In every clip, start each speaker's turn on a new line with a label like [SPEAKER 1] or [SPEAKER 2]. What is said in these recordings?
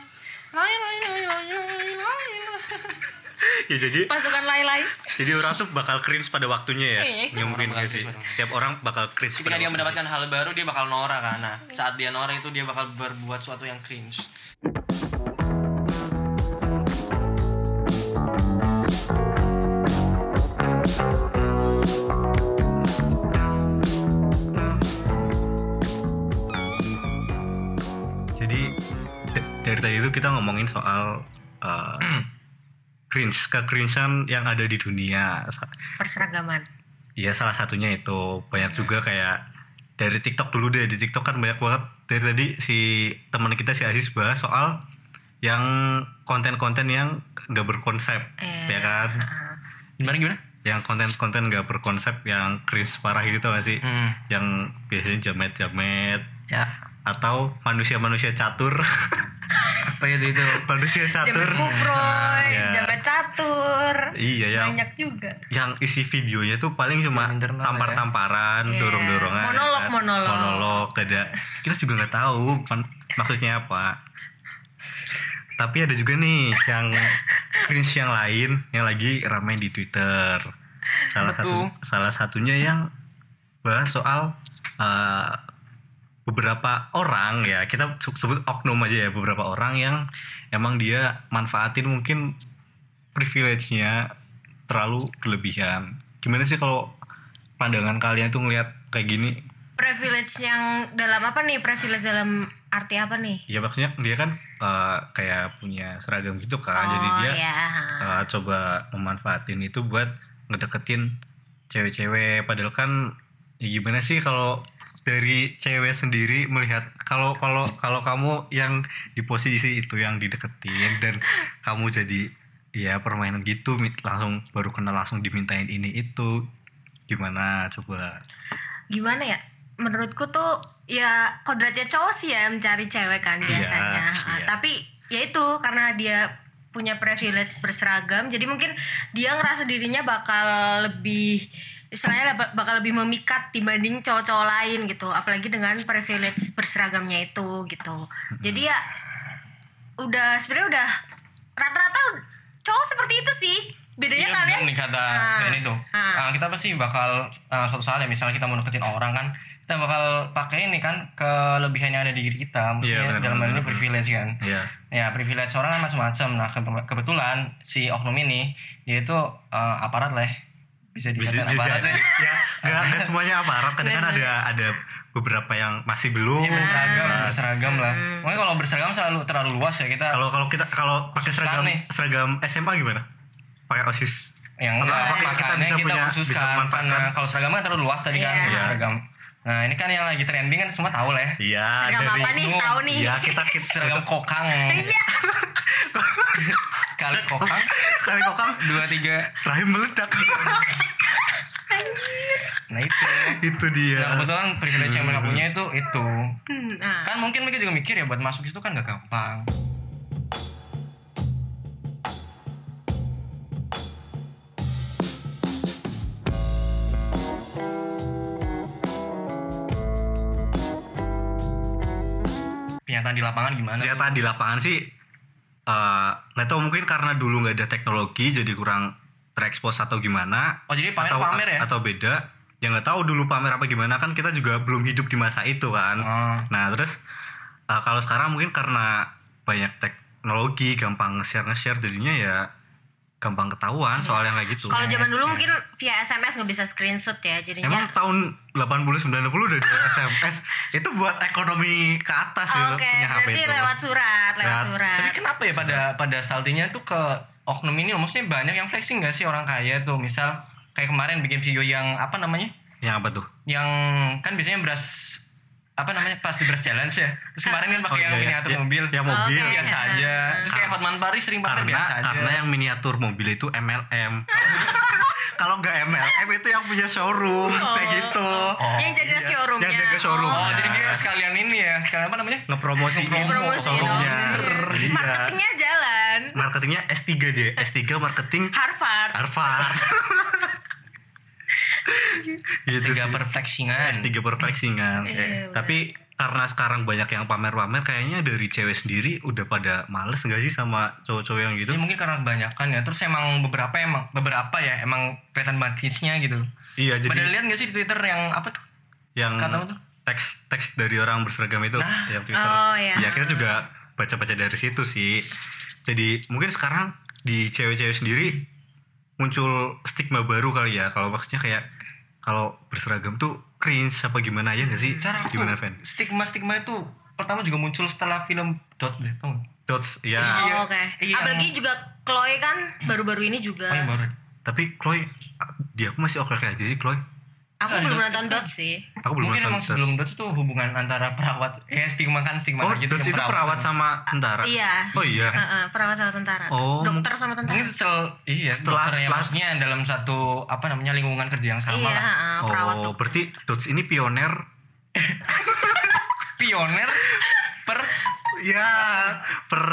[SPEAKER 1] lain lain lain lain lain lain
[SPEAKER 2] ya jadi
[SPEAKER 1] pasukan lain lain
[SPEAKER 2] jadi orang tuh bakal cringe pada waktunya ya
[SPEAKER 1] Iya.
[SPEAKER 2] ya mungkin
[SPEAKER 3] Orang bakal
[SPEAKER 2] nggak sih
[SPEAKER 3] cringe pada
[SPEAKER 2] setiap orang bakal cringe
[SPEAKER 3] ketika
[SPEAKER 2] pada
[SPEAKER 3] dia
[SPEAKER 2] waktunya.
[SPEAKER 3] mendapatkan hal baru dia bakal norak kan nah saat dia norak itu dia bakal berbuat sesuatu yang cringe
[SPEAKER 2] jadi d- dari tadi itu kita ngomongin soal uh,
[SPEAKER 3] Hmm.
[SPEAKER 2] cringe kekringean yang ada di dunia Sa-
[SPEAKER 1] perseragaman Hmm.
[SPEAKER 2] Iya salah satunya itu banyak juga kayak dari TikTok dulu deh di TikTok kan banyak banget dari tadi si teman kita si Aziz bahas soal yang konten-konten yang nggak berkonsep
[SPEAKER 1] Eh,
[SPEAKER 2] ya kan
[SPEAKER 3] gimana gimana
[SPEAKER 2] yang konten-konten nggak berkonsep yang cringe parah gitu tau gak sih
[SPEAKER 3] hmm.
[SPEAKER 2] yang biasanya jamet-jamet
[SPEAKER 3] ya
[SPEAKER 2] atau manusia-manusia catur
[SPEAKER 3] apa itu itu
[SPEAKER 2] manusia
[SPEAKER 1] jamet
[SPEAKER 2] catur
[SPEAKER 1] kuproy
[SPEAKER 2] Iya.
[SPEAKER 1] jamet catur
[SPEAKER 2] iya yang
[SPEAKER 1] banyak juga
[SPEAKER 2] yang isi videonya tuh paling cuma
[SPEAKER 3] Yang internal,
[SPEAKER 2] tampar-tamparan,
[SPEAKER 1] ya.
[SPEAKER 2] dorong-dorongan, ya
[SPEAKER 1] Monolog,
[SPEAKER 2] kan?
[SPEAKER 1] monolog.
[SPEAKER 2] monolog, ada kita juga nggak tahu man- maksudnya apa. Tapi ada juga nih yang cringe yang lain yang lagi ramai di Twitter. Salah
[SPEAKER 3] Apa
[SPEAKER 2] satu
[SPEAKER 3] tuh?
[SPEAKER 2] salah satunya yang bahas soal eh, beberapa orang ya kita su- sebut oknum aja ya beberapa orang yang emang dia manfaatin mungkin privilege-nya terlalu kelebihan. Gimana sih kalau pandangan kalian tuh ngelihat kayak gini?
[SPEAKER 1] privilege yang dalam apa nih privilege dalam arti apa nih
[SPEAKER 2] Ya maksudnya dia kan eh, kayak punya seragam gitu kan, jadi
[SPEAKER 1] oh
[SPEAKER 2] dia
[SPEAKER 3] iya.
[SPEAKER 1] ya
[SPEAKER 2] eh, coba memanfaatin itu buat ngedeketin cewek-cewek. Padahal kan ya gimana sih kalau dari cewek sendiri melihat kalau kalau kalau kamu yang di posisi itu yang dideketin dan kamu jadi ya permainan gitu mit- langsung baru kenal langsung dimintain ini itu gimana coba
[SPEAKER 1] gimana ya menurutku tuh ya kodratnya cowok sih ya mencari cewek kan
[SPEAKER 2] Iya,
[SPEAKER 1] biasanya Ah,
[SPEAKER 2] iya.
[SPEAKER 1] tapi ya itu karena dia punya privilege berseragam jadi mungkin dia ngerasa dirinya bakal lebih istilahnya leba- bakal lebih memikat dibanding cowok-cowok lain gitu apalagi dengan privilege berseragamnya itu gitu jadi ya udah sebenarnya udah rata-rata cowok seperti itu sih bedanya
[SPEAKER 3] Iya,
[SPEAKER 1] kalian
[SPEAKER 3] bener nih kata
[SPEAKER 1] Ah,
[SPEAKER 3] ini tuh Ah,
[SPEAKER 1] ah.
[SPEAKER 3] kita pasti bakal ah, suatu saat ya misalnya kita mau deketin orang kan kita bakal pakai ini kan kelebihan yang ada di diri kita
[SPEAKER 2] Iya,
[SPEAKER 3] maksudnya
[SPEAKER 2] bener,
[SPEAKER 3] dalam hal
[SPEAKER 2] bener,
[SPEAKER 3] ini
[SPEAKER 2] bener.
[SPEAKER 3] privilege kan
[SPEAKER 2] ya
[SPEAKER 3] ya privilege orang kan macam-macam nah ke- kebetulan si oknum ini dia itu eh, aparat lah ya. bisa
[SPEAKER 2] bisa
[SPEAKER 3] dikatakan
[SPEAKER 2] jadi
[SPEAKER 3] aparat ya
[SPEAKER 2] ya nggak nggak semuanya aparat kadang kan ada ada beberapa yang Iya, masih belum
[SPEAKER 3] Dia berseragam berseragam lah makanya kalau berseragam selalu terlalu luas ya kita
[SPEAKER 2] kalau kalau kita kalau pakai
[SPEAKER 3] Khususkan
[SPEAKER 2] seragam
[SPEAKER 3] nih.
[SPEAKER 2] seragam SMA gimana pakai osis
[SPEAKER 3] yang
[SPEAKER 2] Apa-
[SPEAKER 3] enggak,
[SPEAKER 2] apa kita
[SPEAKER 3] makanya
[SPEAKER 2] bisa
[SPEAKER 3] kita,
[SPEAKER 2] punya- bisa
[SPEAKER 3] khususkan
[SPEAKER 2] memanfaatkan?
[SPEAKER 3] karena kalau seragam kan terlalu luas tadi
[SPEAKER 1] Iya.
[SPEAKER 3] kan
[SPEAKER 2] Iya.
[SPEAKER 3] seragam nah ini kan yang lagi trending kan semua tahu lah ya
[SPEAKER 2] iya
[SPEAKER 1] seragam apa nih
[SPEAKER 3] umum.
[SPEAKER 1] tahu nih
[SPEAKER 2] iya kita kita
[SPEAKER 3] seragam kokang
[SPEAKER 1] Iya.
[SPEAKER 3] sekali kokang
[SPEAKER 2] sekali kokang
[SPEAKER 3] dua tiga
[SPEAKER 2] rahim meledak
[SPEAKER 1] Iya.
[SPEAKER 3] nah itu
[SPEAKER 2] itu dia
[SPEAKER 3] nah, kebetulan privilege yang mereka punya itu itu
[SPEAKER 1] Hmm, nah.
[SPEAKER 3] kan mungkin mereka juga mikir ya buat masuk situ kan gak gampang kenyataan di lapangan gimana tuh?
[SPEAKER 2] Kenyataan kan di lapangan sih eh, nggak tahu mungkin karena dulu nggak ada teknologi jadi kurang terekspos atau gimana
[SPEAKER 3] oh jadi pamer
[SPEAKER 2] atau
[SPEAKER 3] pamer ya
[SPEAKER 2] atau beda ya nggak tahu dulu pamer apa gimana kan kita juga belum hidup di masa itu kan
[SPEAKER 3] Ah.
[SPEAKER 2] Nah terus uh, kalau sekarang mungkin karena banyak teknologi gampang nge-share nge-share jadinya ya gampang ketahuan
[SPEAKER 3] Iya.
[SPEAKER 2] soal yang kayak gitu.
[SPEAKER 1] Kalau zaman dulu mungkin via SMS nggak bisa screenshot ya jadinya.
[SPEAKER 2] Emang tahun 80-90 udah ada SMS itu buat ekonomi ke atas
[SPEAKER 1] Oh,
[SPEAKER 2] gitu
[SPEAKER 1] Oke,
[SPEAKER 2] punya HP
[SPEAKER 1] berarti
[SPEAKER 2] itu.
[SPEAKER 1] lewat surat, lewat
[SPEAKER 2] Lewat-
[SPEAKER 1] surat.
[SPEAKER 3] Tapi kenapa ya pada pada saltinya tuh ke oknum ini loh? maksudnya banyak yang flexing gak sih orang kaya tuh misal kayak kemarin bikin video yang apa namanya
[SPEAKER 2] Yang apa tuh?
[SPEAKER 3] yang kan biasanya beras apa namanya pas di beras challenge ya terus kemarin kan
[SPEAKER 2] Oh,
[SPEAKER 3] pakai yang
[SPEAKER 2] iya, iya.
[SPEAKER 3] miniatur
[SPEAKER 2] Ya-
[SPEAKER 3] mobil Oh,
[SPEAKER 2] yang mobil.
[SPEAKER 1] Oke.
[SPEAKER 3] biasa aja terus kayak Hotman Paris sering pakai
[SPEAKER 2] Karena
[SPEAKER 3] biasa aja
[SPEAKER 2] karena yang miniatur mobil itu MLM. kalau nggak MLM itu yang punya showroom kayak gitu.
[SPEAKER 1] Oh. yang jaga showroomnya.
[SPEAKER 2] Yang jaga showroom.
[SPEAKER 3] oh
[SPEAKER 1] Oh,
[SPEAKER 3] jadi dia sekalian ini ya sekalian apa namanya
[SPEAKER 2] Ngepromosiin
[SPEAKER 1] Ngepromosi dong.
[SPEAKER 2] showroomnya. Iya.
[SPEAKER 1] marketingnya jalan.
[SPEAKER 2] marketingnya S3 dia S3 marketing
[SPEAKER 1] Harvard.
[SPEAKER 2] Harvard gitu
[SPEAKER 3] tiga
[SPEAKER 2] sih.
[SPEAKER 3] perflexingan
[SPEAKER 2] Gitu S3 perflexingan
[SPEAKER 1] Iya, benar.
[SPEAKER 2] tapi karena sekarang banyak yang pamer-pamer kayaknya dari cewek sendiri udah pada males nggak sih sama cowok-cowok yang gitu
[SPEAKER 1] Iya.
[SPEAKER 3] Ya mungkin karena kebanyakan ya. Terus emang beberapa emang beberapa ya emang kelihatan banget hitsnya gitu.
[SPEAKER 2] iya jadi
[SPEAKER 3] Padahal lihat gak sih di Twitter yang apa tuh?
[SPEAKER 2] yang
[SPEAKER 3] Katamu tuh?
[SPEAKER 2] teks teks dari orang berseragam itu yang Twitter.
[SPEAKER 1] Oh, iya.
[SPEAKER 2] Ya kita juga baca-baca dari situ sih. Jadi mungkin sekarang di cewek-cewek sendiri muncul stigma baru kali ya kalau maksudnya kayak kalau berseragam tuh cringe apa gimana ya nggak sih?
[SPEAKER 3] Cara aku
[SPEAKER 2] Gimana Fen?
[SPEAKER 3] stigma-stigma itu pertama juga muncul setelah film Dots deh, tau nggak?
[SPEAKER 2] Dots ya.
[SPEAKER 3] Iya.
[SPEAKER 1] Oh, oke.
[SPEAKER 3] Iya.
[SPEAKER 1] Apalagi juga Chloe kan baru-baru ini juga.
[SPEAKER 3] Oh, yang baru.
[SPEAKER 2] Tapi Chloe dia aku masih oke aja sih Chloe.
[SPEAKER 1] Aku
[SPEAKER 3] Ah,
[SPEAKER 1] belum
[SPEAKER 3] Dots
[SPEAKER 1] nonton Dots sih.
[SPEAKER 2] Aku belum
[SPEAKER 3] Mungkin
[SPEAKER 2] nonton
[SPEAKER 3] emang
[SPEAKER 2] Dots.
[SPEAKER 3] sebelum Dots itu hubungan antara perawat ya stigma kan stigma
[SPEAKER 2] Oh,
[SPEAKER 3] kan gitu,
[SPEAKER 2] Dots
[SPEAKER 3] yang
[SPEAKER 2] itu perawat sama tentara.
[SPEAKER 1] Iya.
[SPEAKER 2] Oh iya.
[SPEAKER 1] Heeh, perawat sama tentara.
[SPEAKER 2] Oh,
[SPEAKER 1] Dokter sama
[SPEAKER 3] Mungkin
[SPEAKER 1] tentara.
[SPEAKER 3] setel,
[SPEAKER 2] Setelah-
[SPEAKER 3] iya, setelah, yang
[SPEAKER 2] setelah-
[SPEAKER 3] maksudnya dalam satu apa namanya lingkungan kerja yang sama
[SPEAKER 1] Iya,
[SPEAKER 3] lah.
[SPEAKER 1] heeh, perawat
[SPEAKER 2] Oh,
[SPEAKER 1] dokter.
[SPEAKER 2] berarti Dots ini pioner
[SPEAKER 3] Pioner per
[SPEAKER 1] Iya,
[SPEAKER 2] Ya, per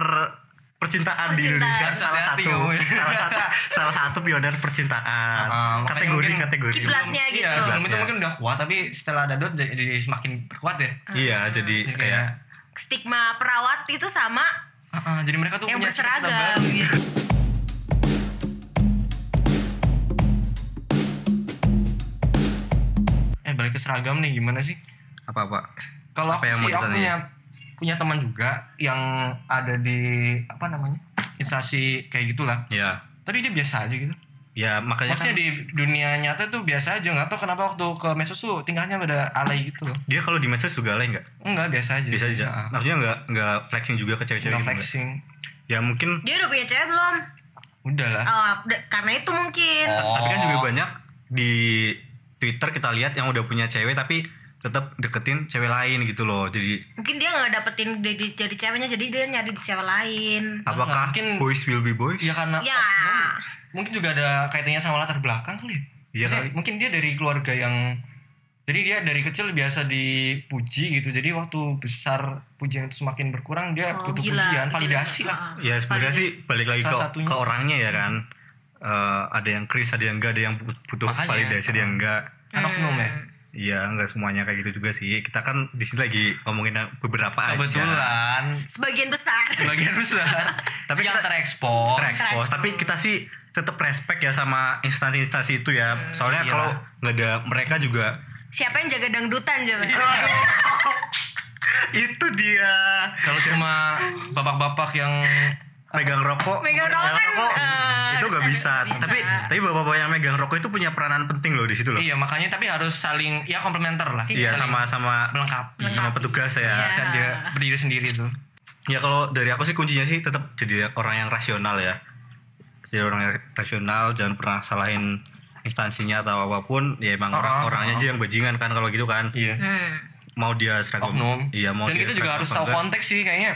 [SPEAKER 2] percintaan, di
[SPEAKER 1] Percintaan.
[SPEAKER 2] Indonesia
[SPEAKER 3] Harus
[SPEAKER 2] salah
[SPEAKER 3] hati-hati
[SPEAKER 2] satu,
[SPEAKER 3] kamu ya.
[SPEAKER 2] salah satu salah satu pioner percintaan.
[SPEAKER 3] Ah, makanya
[SPEAKER 2] kategori
[SPEAKER 3] mungkin
[SPEAKER 2] kategori.
[SPEAKER 1] kiblatnya gitu.
[SPEAKER 3] Iya, sebelum itu
[SPEAKER 2] Kiblatnya.
[SPEAKER 3] mungkin udah kuat tapi setelah ada dot jadi jadi semakin berkuat ya.
[SPEAKER 2] Iya, jadi
[SPEAKER 3] Jadi
[SPEAKER 2] kayak
[SPEAKER 1] Stigma perawat itu sama
[SPEAKER 3] Ah, ah, jadi mereka tuh
[SPEAKER 1] yang
[SPEAKER 3] punya cita-cita
[SPEAKER 1] berseragam
[SPEAKER 3] baru. ya?
[SPEAKER 1] gitu.
[SPEAKER 3] Eh balik ke seragam nih gimana sih?
[SPEAKER 2] apa apa.
[SPEAKER 3] Kalau
[SPEAKER 2] Apa
[SPEAKER 3] aku
[SPEAKER 2] yang mau
[SPEAKER 3] sih aku
[SPEAKER 2] ditanyain?
[SPEAKER 3] punya punya teman juga yang ada di apa namanya instansi kayak gitulah.
[SPEAKER 2] Ya,
[SPEAKER 3] Tapi dia biasa aja gitu.
[SPEAKER 2] ya makanya
[SPEAKER 3] Maksudnya
[SPEAKER 2] kan
[SPEAKER 3] di dunia nyata tuh biasa aja nggak tau kenapa waktu ke mesos tuh tingkahnya pada alay gitu loh.
[SPEAKER 2] dia kalau di matches juga lain nggak?
[SPEAKER 3] Enggak biasa aja.
[SPEAKER 2] Bisa
[SPEAKER 3] sih.
[SPEAKER 2] aja.
[SPEAKER 3] Ah,
[SPEAKER 2] Maksudnya nggak nggak flexing juga ke cewek-cewek
[SPEAKER 3] nggak
[SPEAKER 2] gitu.
[SPEAKER 3] flexing.
[SPEAKER 2] Ya mungkin,
[SPEAKER 1] Dia udah punya cewek belum?
[SPEAKER 3] Udah lah.
[SPEAKER 1] Oh, d- karena itu mungkin.
[SPEAKER 3] Oh.
[SPEAKER 2] tapi kan juga banyak di Twitter kita lihat yang udah punya cewek tapi tetap deketin cewek lain gitu loh. Jadi
[SPEAKER 1] Mungkin dia nggak dapetin jadi, jadi ceweknya, jadi dia nyari di cewek lain.
[SPEAKER 2] apakah
[SPEAKER 3] mungkin-
[SPEAKER 2] boys will be boys?
[SPEAKER 3] Ya karena
[SPEAKER 1] Ya.
[SPEAKER 3] oknum, mungkin juga ada kaitannya sama latar belakang
[SPEAKER 2] Iya
[SPEAKER 3] kali. ya. Maksudnya,
[SPEAKER 2] kali.
[SPEAKER 3] Mungkin dia dari keluarga yang jadi dia dari kecil biasa dipuji gitu. Jadi waktu besar pujian itu semakin berkurang dia
[SPEAKER 1] Oh,
[SPEAKER 3] butuh
[SPEAKER 1] gila.
[SPEAKER 3] pujian,
[SPEAKER 1] Gitu.
[SPEAKER 3] validasi lah.
[SPEAKER 2] Ya
[SPEAKER 1] Heeh.
[SPEAKER 2] sebenarnya sih balik lagi ke,
[SPEAKER 3] Ah, Salah satunya.
[SPEAKER 2] ke orangnya ya kan. Eh, ada yang kris, ada yang enggak, ada yang butuh
[SPEAKER 3] Makanya.
[SPEAKER 2] validasi, ada yang enggak.
[SPEAKER 3] Kan oknum ya.
[SPEAKER 2] Iya, enggak semuanya kayak gitu juga sih. Kita kan di sini lagi ngomongin beberapa aja.
[SPEAKER 3] Kebetulan
[SPEAKER 1] Sebagian besar.
[SPEAKER 3] sebagian besar
[SPEAKER 2] Tapi
[SPEAKER 3] yang
[SPEAKER 2] kita-
[SPEAKER 3] terekspos.
[SPEAKER 2] Terekspos, tapi kita sih tetap respect ya sama instansi-instansi itu ya. Soalnya
[SPEAKER 3] Iya.
[SPEAKER 2] kalau nggak ada mereka juga
[SPEAKER 1] Siapa yang jaga dangdutan coba?
[SPEAKER 3] Iya.
[SPEAKER 2] itu dia
[SPEAKER 3] Kalau cuma bapak-bapak yang
[SPEAKER 2] megang rokok,
[SPEAKER 1] Megang rokok kan, eh,
[SPEAKER 2] itu nggak
[SPEAKER 1] harus
[SPEAKER 2] bisa.
[SPEAKER 1] ada- nggak
[SPEAKER 2] Tapi
[SPEAKER 1] bisa.
[SPEAKER 2] tapi bapak-bapak yang megang rokok itu punya peranan penting loh di situ loh.
[SPEAKER 3] iya makanya tapi harus saling ya komplementer lah.
[SPEAKER 2] Iya,
[SPEAKER 3] Saling
[SPEAKER 2] sama-sama
[SPEAKER 3] melengkapi.
[SPEAKER 2] sama petugas ya.
[SPEAKER 1] Iya.
[SPEAKER 3] Bisa dia berdiri sendiri tuh.
[SPEAKER 2] Ya kalau dari aku sih kuncinya sih tetap jadi orang yang rasional ya. Jadi orang yang rasional jangan pernah salahin instansinya atau apapun. Ya emang orang
[SPEAKER 3] Oh, oh,
[SPEAKER 2] orangnya aja yang bajingan kan kalau gitu kan.
[SPEAKER 3] Iya.
[SPEAKER 1] Hmm.
[SPEAKER 2] Mau dia seragam.
[SPEAKER 3] oknum.
[SPEAKER 2] Iya, mau
[SPEAKER 3] Dan
[SPEAKER 2] dia
[SPEAKER 3] kita juga
[SPEAKER 2] seragam
[SPEAKER 3] harus
[SPEAKER 2] apa
[SPEAKER 3] tahu
[SPEAKER 2] enggak.
[SPEAKER 3] konteks sih kayaknya.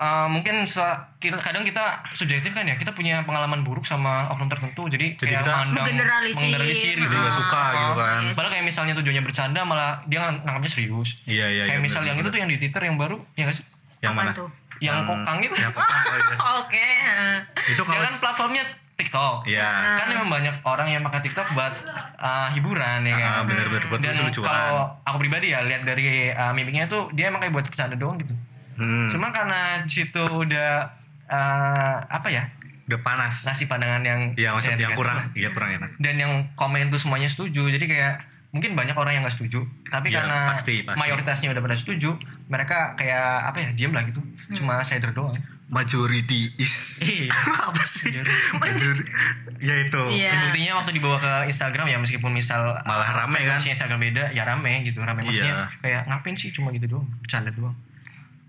[SPEAKER 3] Eh, mungkin sa- kita kadang kita subjektif kan ya kita punya pengalaman buruk sama oknum tertentu jadi,
[SPEAKER 2] Jadi
[SPEAKER 3] kayak
[SPEAKER 2] kita
[SPEAKER 3] memandang-
[SPEAKER 1] Menggeneralisir.
[SPEAKER 3] menggeneralisir
[SPEAKER 2] Jadi
[SPEAKER 3] gitu
[SPEAKER 2] nggak suka gitu kan.
[SPEAKER 1] Yes.
[SPEAKER 3] padahal kayak misalnya tujuannya bercanda malah dia ngang- nganggapnya serius
[SPEAKER 2] Iya, iya, iya,
[SPEAKER 3] kayak misal
[SPEAKER 2] benar,
[SPEAKER 3] yang itu
[SPEAKER 2] benar.
[SPEAKER 3] tuh yang di twitter yang baru ya nggak sih
[SPEAKER 2] Yang
[SPEAKER 1] Apaan
[SPEAKER 2] mana?
[SPEAKER 1] tuh?
[SPEAKER 3] yang kokang itu
[SPEAKER 2] yang kokang, oh iya.
[SPEAKER 1] Oke. heeh.
[SPEAKER 2] Itu
[SPEAKER 3] ya
[SPEAKER 2] kalau
[SPEAKER 3] kan platformnya tiktok
[SPEAKER 2] Iya.
[SPEAKER 3] kan memang banyak orang yang pakai tiktok buat eh, hiburan ya
[SPEAKER 2] Ah,
[SPEAKER 3] kan
[SPEAKER 2] benar-benar buat
[SPEAKER 3] dan
[SPEAKER 2] lucu-lucuan.
[SPEAKER 3] kalau aku pribadi ya lihat dari eh, mimiknya tuh dia emang kayak buat bercanda doang gitu
[SPEAKER 2] Hmm,
[SPEAKER 3] Cuma karena di situ udah eh, apa ya
[SPEAKER 2] udah panas.
[SPEAKER 3] ngasih pandangan yang
[SPEAKER 2] Iya, maksud
[SPEAKER 3] yang
[SPEAKER 2] yang
[SPEAKER 3] negatif
[SPEAKER 2] kurang,
[SPEAKER 3] lah.
[SPEAKER 2] iya kurang enak.
[SPEAKER 3] dan yang komen tuh semuanya setuju jadi kayak mungkin banyak orang yang nggak setuju tapi
[SPEAKER 2] Iya,
[SPEAKER 3] karena
[SPEAKER 2] pasti, pasti.
[SPEAKER 3] mayoritasnya udah pada setuju mereka kayak apa ya diam lah gitu cuma shader doang
[SPEAKER 2] Majority is
[SPEAKER 3] Iya.
[SPEAKER 2] apa sih? Majority. ya itu.
[SPEAKER 1] Iya.
[SPEAKER 3] Dan buktinya waktu dibawa ke Instagram ya meskipun misal
[SPEAKER 2] Malah rame kan?
[SPEAKER 3] frekuensinya Instagram beda ya rame gitu rame maksudnya
[SPEAKER 2] Iya.
[SPEAKER 3] kayak ngapain sih cuma gitu doang bercanda doang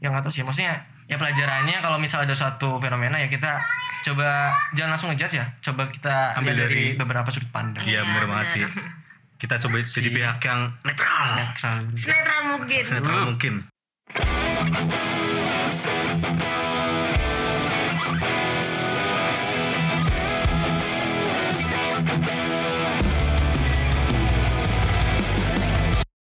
[SPEAKER 3] ya nggak tahu sih maksudnya ya pelajarannya kalau misal ada suatu fenomena ya kita coba jangan langsung ngejudge ya coba kita
[SPEAKER 2] Ambil
[SPEAKER 3] lihat
[SPEAKER 2] dari-
[SPEAKER 3] beberapa sudut pandang
[SPEAKER 2] Iya,
[SPEAKER 1] Iya,
[SPEAKER 2] bener banget sih.
[SPEAKER 1] benar.
[SPEAKER 2] Kita coba jadi pihak yang netral.
[SPEAKER 3] netral
[SPEAKER 1] Sinetron mungkin.
[SPEAKER 2] Senetral mungkin.